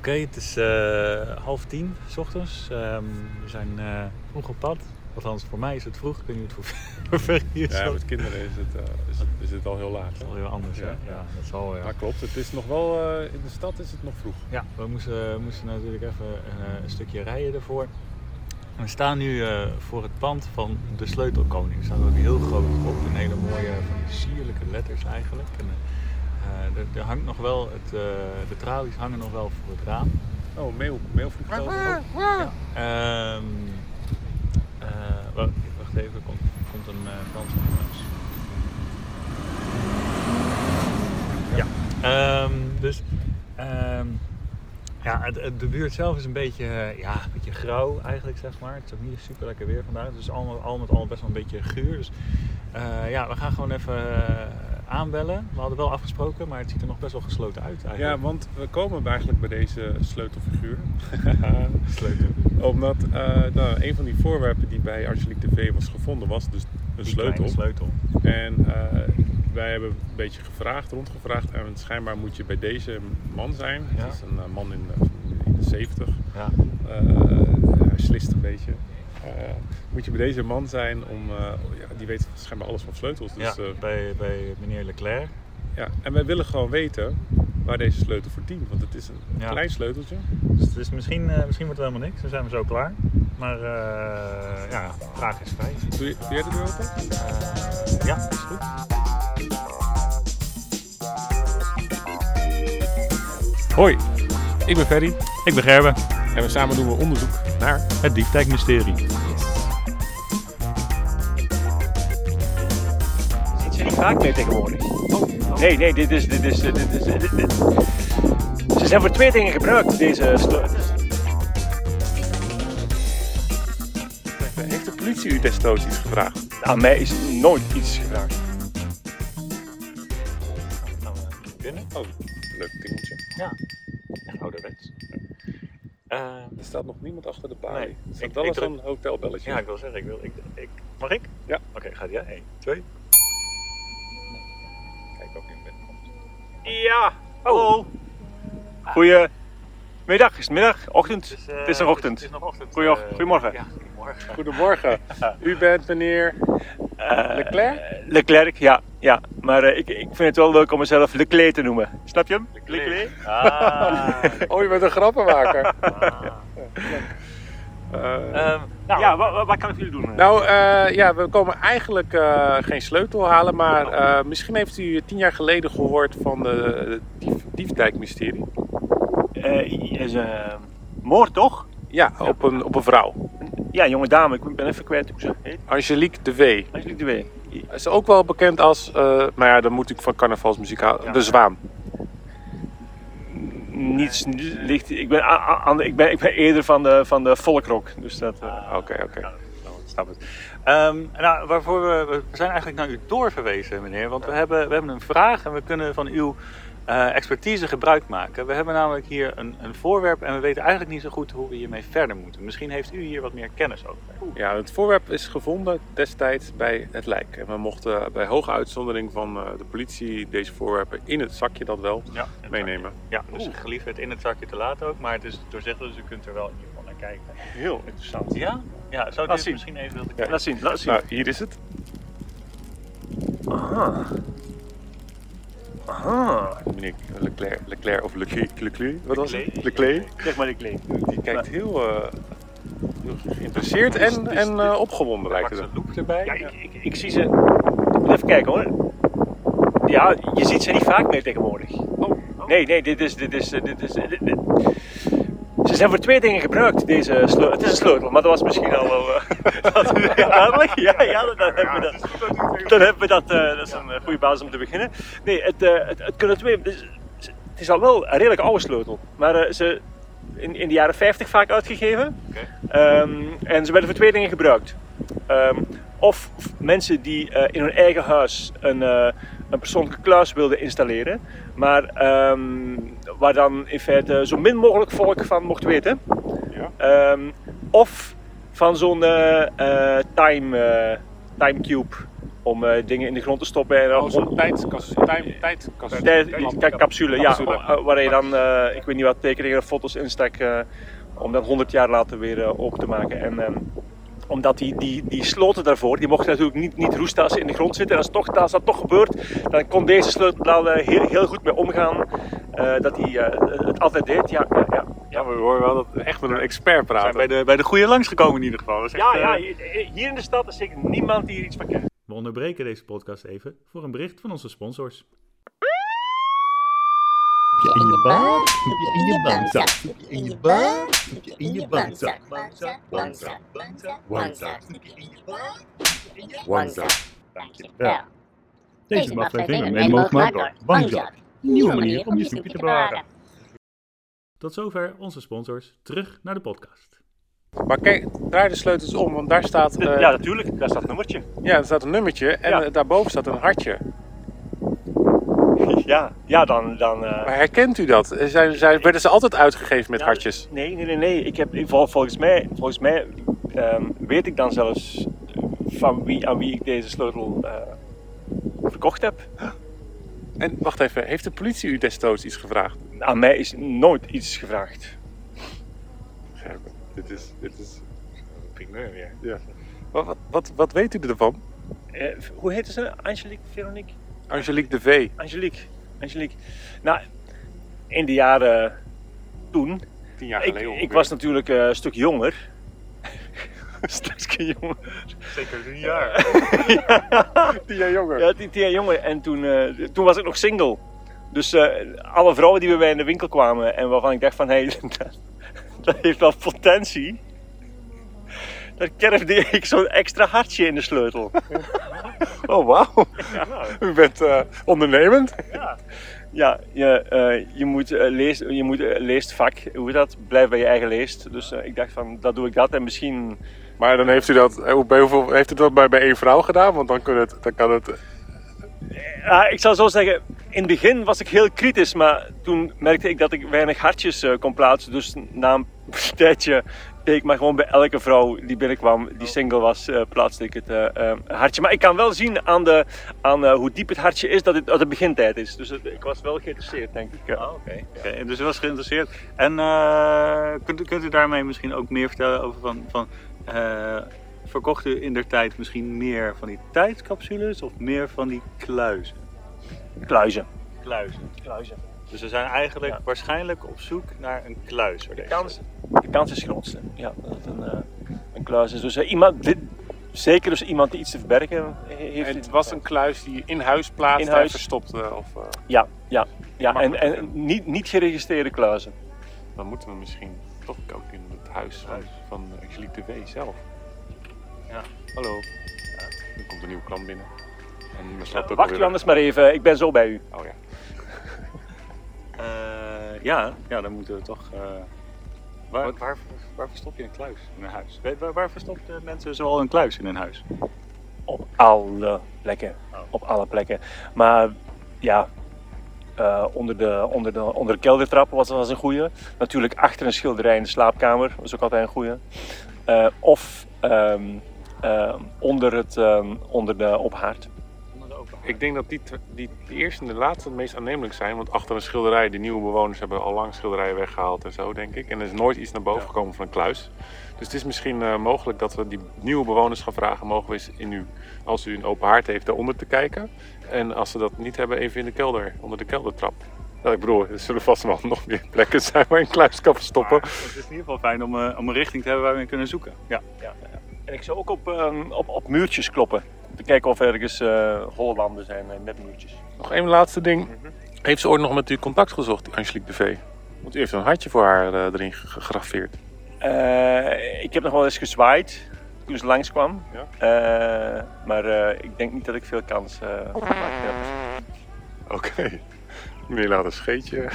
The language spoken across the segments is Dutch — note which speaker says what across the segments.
Speaker 1: het is eh, half tien s ochtends. Ehm, we zijn eh, vroeg op pad. Althans, voor mij is het vroeg. Ik weet niet hoe ver- hoe ver hier is.
Speaker 2: Ja,
Speaker 1: dat
Speaker 2: met kinderen is het, eh, is het, is het al heel laat.
Speaker 1: is
Speaker 2: hè?
Speaker 1: wel heel anders. Ja,
Speaker 2: Ja,
Speaker 1: ja.
Speaker 2: ja.
Speaker 1: dat is wel.
Speaker 2: Ja, klopt. Het is nog wel, eh, in de stad is het nog vroeg.
Speaker 1: Ja, we moesten, moesten natuurlijk even eh, een stukje rijden ervoor. We staan nu eh, voor het pand van de Sleutelkoning. Staat ook heel groot op. Een hele mooie, eh, van die sierlijke letters eigenlijk. En, eh, er, er hangt nog wel, het, eh, de tralies hangen nog wel voor het raam.
Speaker 2: Oh, mail, Oh. mailvliegtuig.
Speaker 1: Ah.
Speaker 2: ook.
Speaker 1: Ehm eh, wa- wacht even, er komt, komt een eh Frans langs. Ja, ehm, dus ehm, ja, het, het- de buurt zelf is een beetje, eh, ja, een beetje grauw eigenlijk, zeg maar. Het is ook niet super lekker weer vandaag, dus al met al, met al best wel een beetje guur. Dus eh, ja, we gaan gewoon even eh, aanbellen. We hadden wel afgesproken, maar het ziet er nog best wel gesloten uit eigenlijk.
Speaker 2: Ja, want we komen eigenlijk bij deze sleutelfiguur.
Speaker 1: Sleutel.
Speaker 2: Omdat eh, nou, een van die voorwerpen die bij Angelique TV was gevonden was dus een
Speaker 1: Die kleine
Speaker 2: sleutel.
Speaker 1: sleutel.
Speaker 2: En eh, wij hebben een beetje gevraagd, rondgevraagd. En schijnbaar moet je bij deze man zijn.
Speaker 1: Ja.
Speaker 2: Het is een eh, man in de, in de 70.
Speaker 1: Ja.
Speaker 2: Eh, hij slist een beetje. Eh, moet je bij deze man zijn om. eh, ja, die weet schijnbaar alles van sleutels. Dus,
Speaker 1: ja,
Speaker 2: eh,
Speaker 1: bij, bij meneer Leclerc.
Speaker 2: ja. En wij willen gewoon weten waar deze sleutel voor dient. Want het is een
Speaker 1: Ja.
Speaker 2: klein sleuteltje.
Speaker 1: Dus het is misschien, eh, misschien wordt het helemaal niks, dan zijn we zo klaar. Maar eh, ja, vraag is vrij.
Speaker 2: Doe, je- doe jij de deur open?
Speaker 1: Eh, ja, is goed.
Speaker 2: Hoi, ik ben Ferry.
Speaker 1: Ik ben Gerben,
Speaker 2: En we samen doen we onderzoek naar.
Speaker 1: het diepdijkmysterie.
Speaker 3: Dit zie je niet vaak meer tegenwoordig. Nee, nee, dit is. Dit is, dit is, dit is- dit- Ze zijn voor twee dingen gebruikt, deze. sto-
Speaker 2: Heeft de politie u desnoods iets gevraagd?
Speaker 3: Aan mij is nooit iets gevraagd.
Speaker 1: Gaan we eh, binnen?
Speaker 2: Oh, leuk dingeltje.
Speaker 1: Ja. Ja, ouderwets. Eh,
Speaker 2: Er staat nog niemand achter de
Speaker 1: Nee,
Speaker 2: balie. er staat
Speaker 1: ik-
Speaker 2: wel
Speaker 1: ik
Speaker 2: eens
Speaker 1: druk-
Speaker 2: een hotelbelletje.
Speaker 1: ja, ik wil zeggen, ik wil, ik, ik, mag ik?
Speaker 2: Ja.
Speaker 1: Oké, gaat jij? 1, 2.
Speaker 2: Kijk ook in binnen.
Speaker 3: Ja, hallo. Goedemiddag, is het middag? Ochtend?
Speaker 1: Het is, eh,
Speaker 3: het is nog ochtend.
Speaker 1: Het is nog ochtend.
Speaker 3: Goeie-
Speaker 1: eh,
Speaker 3: goedemorgen.
Speaker 1: Ja, goedemorgen.
Speaker 2: Goedemorgen. U bent meneer
Speaker 3: Eh,
Speaker 2: Leclerc?
Speaker 3: eh, Leclerc, ja. ja. Maar eh, ik, ik vind het wel leuk om mezelf Leclerc te noemen. Snap je hem?
Speaker 1: Ah.
Speaker 2: Oh, je bent een grappenmaker.
Speaker 1: ah.
Speaker 2: Eh,
Speaker 1: Ehm, nou,
Speaker 3: Ja, wat, wat, wat kan ik voor jullie doen?
Speaker 2: nou, eh, ja, we komen eigenlijk eh, geen sleutel halen, maar eh, misschien heeft u tien jaar geleden gehoord van de eh, dief, diefdijkmysterie.
Speaker 3: Eh, is eh, moord, toch?
Speaker 2: Ja, Op, een, op een vrouw.
Speaker 3: Ja, jonge dame, ik ben even kwijt hoe ze heet.
Speaker 2: Angelique de W.
Speaker 3: Angelique de Wee.
Speaker 2: Is ook wel bekend als, eh maar ja, dan moet ik van carnavalsmuziek houden,
Speaker 3: Ja.
Speaker 2: de zwaan.
Speaker 3: niets ligt. Ik ben, a- a- aan de- ik ben, ik ben eerder van de, van de volkrock. Dus dat. eh,
Speaker 2: Oké, oké.
Speaker 1: Ik snap het. Ehm, nou, waarvoor we, we zijn eigenlijk naar u doorverwezen, meneer. Want we hebben, we hebben een vraag en we kunnen van uw eh, expertise gebruik maken. We hebben namelijk hier een, een voorwerp en we weten eigenlijk niet zo goed hoe we hiermee verder moeten. Misschien heeft u hier wat meer kennis over.
Speaker 2: Ja, het voorwerp is gevonden destijds bij het lijk. En we mochten eh, bij hoge uitzondering van eh, de politie deze voorwerpen in het zakje dat wel
Speaker 1: Ja,
Speaker 2: meenemen.
Speaker 1: Ja, dus geliefd het in het zakje te laten ook, maar het is doorzichtig, dus u kunt er wel in ieder geval naar kijken.
Speaker 3: Heel interessant.
Speaker 1: Ja? Ja, zou u
Speaker 3: Laat
Speaker 1: het
Speaker 3: zien.
Speaker 1: misschien even willen
Speaker 3: Laat zien, laat zien.
Speaker 2: Nou, hier is het.
Speaker 3: Aha. Aha.
Speaker 2: Meneer Leclerc, Leclerc of Leclerc, Leclerc, wat was het?
Speaker 1: Leclerc.
Speaker 2: Leclerc.
Speaker 3: Zeg maar die klee.
Speaker 2: Die kijkt heel, eh, heel geïnteresseerd en, en eh, opgewonden lijkt
Speaker 1: Pak
Speaker 2: het.
Speaker 1: zijn loep erbij.
Speaker 3: Ja, ik, ik, ik zie ze. Moet Even kijken hoor. Ja, je ziet ze niet vaak meer tegenwoordig. Nee, nee, dit is. Dit is, eh, dit is eh, dit- dit- Ze zijn voor twee dingen gebruikt, deze sleutel. Het is een sleutel, maar dat was misschien al wel. eh, dat is heel duidelijk. Ja, ja, dan, dan hebben we dat. Dan hebben we dat. eh, dat is een eh, goede basis om te beginnen. Nee, het, eh, het, het kunnen twee. dus, het is al wel een redelijk oude sleutel, maar eh, ze. In, in de jaren 50 vaak uitgegeven. Ehm, en ze werden voor twee dingen gebruikt. Ehm, of f- mensen die eh, in hun eigen huis een, eh, een persoonlijke kluis wilden installeren, maar ehm, waar dan in feite zo min mogelijk volk van mocht weten.
Speaker 2: Ja.
Speaker 3: Ehm, of van zo'n eh, eh, time, eh, time cube om eh, dingen in de grond te stoppen en dan
Speaker 2: Oh,
Speaker 3: om-
Speaker 2: zo'n tijdkas, tijd, tijdkas,
Speaker 3: Tijd- ca- capsule, ja,
Speaker 2: Capsule.
Speaker 3: wa- waar je dan, eh, ik weet niet wat, tekeningen of foto's instekt eh, om dat 100 jaar later weer eh, open te maken. En ehm, omdat die, die, die sloten daarvoor, die mochten natuurlijk niet, niet roesten als ze in de grond zitten. En als, toch, als dat toch gebeurt, dan kon deze sleutel daar eh, heel, heel goed mee omgaan. eh, dat hij eh, het altijd deed, ja, ja, ja.
Speaker 2: Ja, we horen wel dat we echt met een expert
Speaker 1: We zijn
Speaker 2: praten.
Speaker 1: bij de, bij de goede langsgekomen in ieder geval. Dat is echt,
Speaker 3: Ja, ja,
Speaker 1: eh,
Speaker 3: hier in de stad is zeker niemand die hier iets van kent.
Speaker 1: We onderbreken deze podcast even voor een bericht van onze sponsors.
Speaker 4: Heb je in je baan? Heb je in je baanzak? Heb je in je baan? Heb je in je baanzak? Baanzak, baanzak, baanzak, baanzak. Heb je in je baan? Heb je in je baanzak? Dankjewel. Deze aflevering werd mede mogelijk gemaakt door Baanzak. Nieuwe manier om je snoepje te bewaren.
Speaker 1: Tot zover onze sponsors. Terug naar de podcast.
Speaker 2: Maar kijk, draai de sleutels om, want daar staat, eh,
Speaker 3: ja,
Speaker 2: ja.
Speaker 3: natuurlijk, daar staat het nummertje.
Speaker 2: er staat een nummertje en
Speaker 3: Ja.
Speaker 2: eh, daarboven staat een hartje.
Speaker 3: Ja, ja dan... dan eh,
Speaker 2: Maar herkent u dat? Eh, Zijn, zijn, werden ze altijd uitgegeven met
Speaker 3: Ja,
Speaker 2: hartjes?
Speaker 3: Nee, nee, nee, nee. Ik heb, ik- vol- volgens mij, volgens mij ehm, weet ik dan zelfs van wie, aan wie ik deze sleutel eh, verkocht heb.
Speaker 2: En wacht even, heeft de politie u destijds iets gevraagd?
Speaker 3: Aan mij is nooit iets gevraagd.
Speaker 2: Dit is, dit is...
Speaker 1: eh,
Speaker 3: Primeur weer.
Speaker 2: Wat, wat, wat, wat weet u ervan?
Speaker 3: Eh, hoe heette ze? Angelique, Veronique?
Speaker 2: Angelique de V.
Speaker 3: Angelique. Angelique. Nou, in de jaren toen,
Speaker 2: Tien jaar
Speaker 3: ik,
Speaker 2: geleden
Speaker 3: ik
Speaker 2: ongeveer.
Speaker 3: was natuurlijk eh, een stuk jonger. een stukje jonger.
Speaker 1: Zeker een jaar.
Speaker 2: tien jaar jonger.
Speaker 3: Ja, tien, tien jaar jonger. En toen, eh, toen was ik nog single. Dus eh, alle vrouwen die bij mij in de winkel kwamen en waarvan ik dacht van, hé, hey, dat, dat heeft wel potentie. Daar kerfde ik zo'n extra hartje in de sleutel.
Speaker 2: Oh, wauw. U bent eh, ondernemend.
Speaker 3: Ja, je, eh, je moet, eh, leest, je moet eh, leest vak, hoe heet dat? Blijf bij je eigen leest. Dus eh, ik dacht van, dat doe ik dat en misschien...
Speaker 2: Maar dan heeft u dat, eh, hoe- bij hoeveel, heeft u dat bij, bij één vrouw gedaan? Want dan, kun het, dan kan het...
Speaker 3: Ja, ik zou zo zeggen, in het begin was ik heel kritisch, maar toen merkte ik dat ik weinig hartjes eh, kon plaatsen. Dus na een tijdje deed ik maar gewoon bij elke vrouw die binnenkwam, die single was, eh, plaatste ik het eh, eh, hartje. Maar ik kan wel zien aan, de, aan eh, hoe diep het hartje is dat het, dat het begintijd is. Dus het- ik was wel geïnteresseerd, denk ik. eh.
Speaker 1: oké. Oké, Dus u was geïnteresseerd. En eh, kunt, u- kunt u daarmee misschien ook meer vertellen over van... van eh, verkocht u in der tijd misschien meer van die tijdscapsules of meer van die kluizen?
Speaker 3: Kluizen.
Speaker 1: Kluizen.
Speaker 3: Kluizen.
Speaker 1: Dus we zijn eigenlijk
Speaker 3: Ja.
Speaker 1: waarschijnlijk op zoek naar een kluis. voor
Speaker 3: De
Speaker 1: deze
Speaker 3: kans, de kans is grootste. Ja, dat het een, eh, een kluis is. Dus eh, iemand, dit- zeker dus iemand die iets te verbergen he- heeft.
Speaker 2: Het was een kluis die je in huis plaatste
Speaker 3: In huis.
Speaker 2: en verstopte. Of, eh,
Speaker 3: Ja, ja, ja. En,
Speaker 2: Makkelijk,
Speaker 3: en niet, niet geregistreerde kluizen.
Speaker 2: dan moeten we misschien toch ook in het huis van, van Angelique de V zelf.
Speaker 1: Ja.
Speaker 2: Hallo. Er komt een nieuwe klant binnen. En we snappen ook
Speaker 3: Wacht u
Speaker 2: alweer-
Speaker 3: anders maar even, ik ben zo bij u.
Speaker 2: Oh ja.
Speaker 1: Eh, ja, ja, dan moeten we toch. eh, waar, waar, waar verstop je een kluis in een huis? Weet- Waar, waar verstoppen mensen zoal een kluis in hun huis?
Speaker 3: Op alle plekken.
Speaker 2: Oh.
Speaker 3: Op alle plekken. Maar ja, eh, onder, de, onder, de, onder de keldertrap was, was een goeie. Natuurlijk achter een schilderij in de slaapkamer was ook altijd een goeie. Eh, of ehm, ehm, onder, het, ehm, onder de ophaard.
Speaker 2: Ik denk dat die, tw- die, die eerste en de laatste het meest aannemelijk zijn. Want achter een schilderij, de nieuwe bewoners hebben al lang schilderijen weggehaald en zo, denk ik. En er is nooit iets naar boven
Speaker 1: Ja.
Speaker 2: gekomen van een kluis. Dus het is misschien eh, mogelijk dat we die nieuwe bewoners gaan vragen: mogen we eens in u, als u een open haard heeft, daaronder te kijken? En als ze dat niet hebben, even in de kelder, onder de keldertrap. Nou, ik bedoel, er zullen vast wel nog meer plekken zijn waar je een kluis kan verstoppen.
Speaker 1: Maar het is in ieder geval fijn om, eh, om een richting te hebben waar we in kunnen zoeken. Ja.
Speaker 3: Ja, ja. En ik zou ook op, ehm, op, op muurtjes kloppen. Te kijken of ergens eh Hollanden zijn eh, met muurtjes.
Speaker 2: Nog één laatste ding.
Speaker 1: Mhm.
Speaker 2: Heeft ze ooit nog met u contact gezocht, die Angelique de V? Want u heeft een hartje voor haar eh, erin ge- gegraveerd.
Speaker 3: Eh, ik heb nog wel eens gezwaaid toen ze langskwam.
Speaker 2: Ja.
Speaker 3: Eh, maar eh, ik denk niet dat ik veel kans eh gemaakt heb.
Speaker 2: Oké. Meneer laat een scheetje.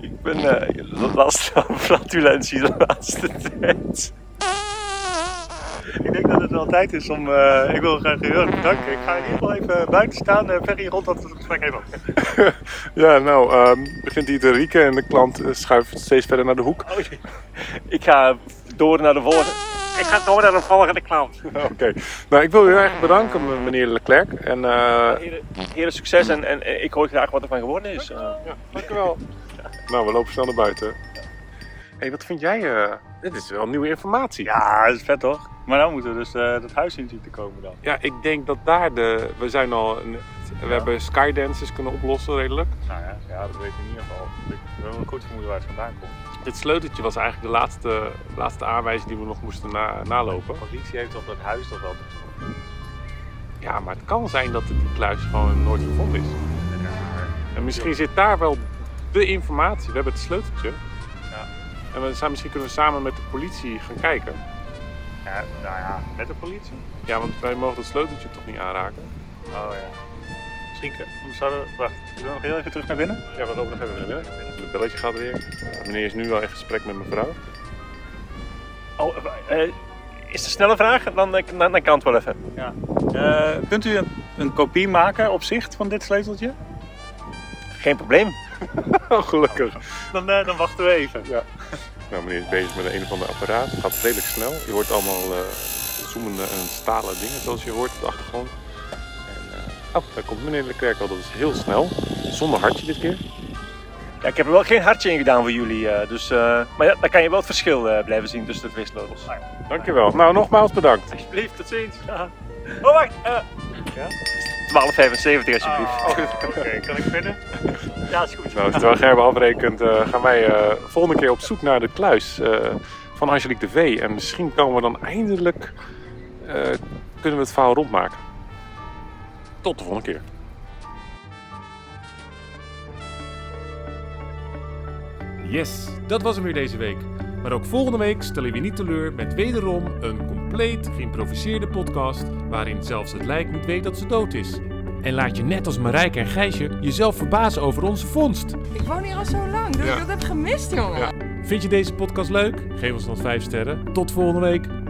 Speaker 3: Ik ben eh, last van flatulentie de laatste tijd.
Speaker 1: Ik denk dat het wel tijd is om. eh, ik wil graag heel erg bedanken. Ik ga in ieder geval even buiten staan. en Ferry rond dat gesprek even af.
Speaker 2: Ja, nou, ehm, begint hij te rieken en de klant eh, schuift steeds verder naar de hoek.
Speaker 3: Ik ga door naar de volgende. Ik ga door naar de volgende klant.
Speaker 2: Oké. Nou, ik wil u erg bedanken, meneer Leclerc. En eh,
Speaker 3: Heren, heren, succes en, en, en ik hoor graag wat er van geworden is. Eh,
Speaker 2: Ja, dankjewel. Nou, we lopen snel naar buiten. hey, wat vind jij? eh, dit is wel nieuwe informatie.
Speaker 3: ja, Ah, dat is vet toch? Maar nou moeten we dus eh, dat huis in zien te komen dan.
Speaker 2: Ja, ik denk dat daar de... We zijn al... een- we hebben skydances kunnen oplossen redelijk.
Speaker 1: Nou ja, ja, dat weet ik in ieder geval. Ik we hebben een goed vermoeden waar het vandaan komt.
Speaker 2: Dit sleuteltje was eigenlijk de laatste, laatste aanwijzing die we nog moesten na- nalopen.
Speaker 1: De politie heeft op dat huis toch wel bezocht.
Speaker 2: Ja, maar het kan zijn dat die kluis gewoon nooit gevonden is. En misschien zit daar wel de informatie. We hebben het sleuteltje.
Speaker 1: Ja.
Speaker 2: En we zijn, misschien kunnen we samen met de politie gaan kijken.
Speaker 1: Ja, nou ja, met de politie.
Speaker 2: Ja, want wij mogen dat sleuteltje toch niet aanraken.
Speaker 1: Oh ja. Misschien kunnen- zouden we... Wacht, zullen we nog heel even terug naar binnen?
Speaker 2: Ja, we lopen nog even naar binnen. Het belletje gaat weer. Meneer is nu al in gesprek met mevrouw.
Speaker 3: Oh, eh, eh, is het een snelle vraag? Dan, eh, dan, dan kan het wel even.
Speaker 1: Eh, kunt u een, een kopie maken op zicht van dit sleuteltje?
Speaker 3: Geen probleem.
Speaker 2: Oh, gelukkig.
Speaker 1: Dan, eh, dan wachten we even.
Speaker 2: Nou, meneer is bezig met een of ander apparaat. Het gaat redelijk snel. Je hoort allemaal eh, zoemende en stalen dingen zoals je hoort op de achtergrond. En, eh, oh, daar komt meneer Leclerc al. Dat is heel snel. Zonder hartje dit keer.
Speaker 3: Ja, ik heb er wel geen hartje in gedaan voor jullie. eh, dus, eh, maar ja, dan kan je wel het verschil eh, blijven zien tussen de twistlevels.
Speaker 2: Dankjewel. Nou, nogmaals bedankt.
Speaker 1: Alsjeblieft, tot ziens.
Speaker 3: Oh, wacht. eh, 12,75 alsjeblieft.
Speaker 1: Oh, Oké, kan ik verder? Ja, is goed.
Speaker 2: Nou, terwijl Gerben afrekent, eh, gaan wij eh, volgende keer op zoek naar de kluis eh, van Angelique de V. En misschien komen we dan eindelijk, eh, kunnen we het verhaal rondmaken. Tot de volgende keer.
Speaker 5: Yes, dat was hem weer deze week. Maar ook volgende week stellen we je niet teleur met wederom een compleet geïmproviseerde podcast waarin zelfs het lijk niet weet dat ze dood is. En laat je net als Marijke en Gijsje jezelf verbazen over onze vondst.
Speaker 6: Ik woon hier al zo lang, dus dat
Speaker 2: Ja.
Speaker 6: ik dat heb gemist, jongen.
Speaker 5: Vind je deze podcast leuk? Geef ons dan 5 sterren. Tot volgende week.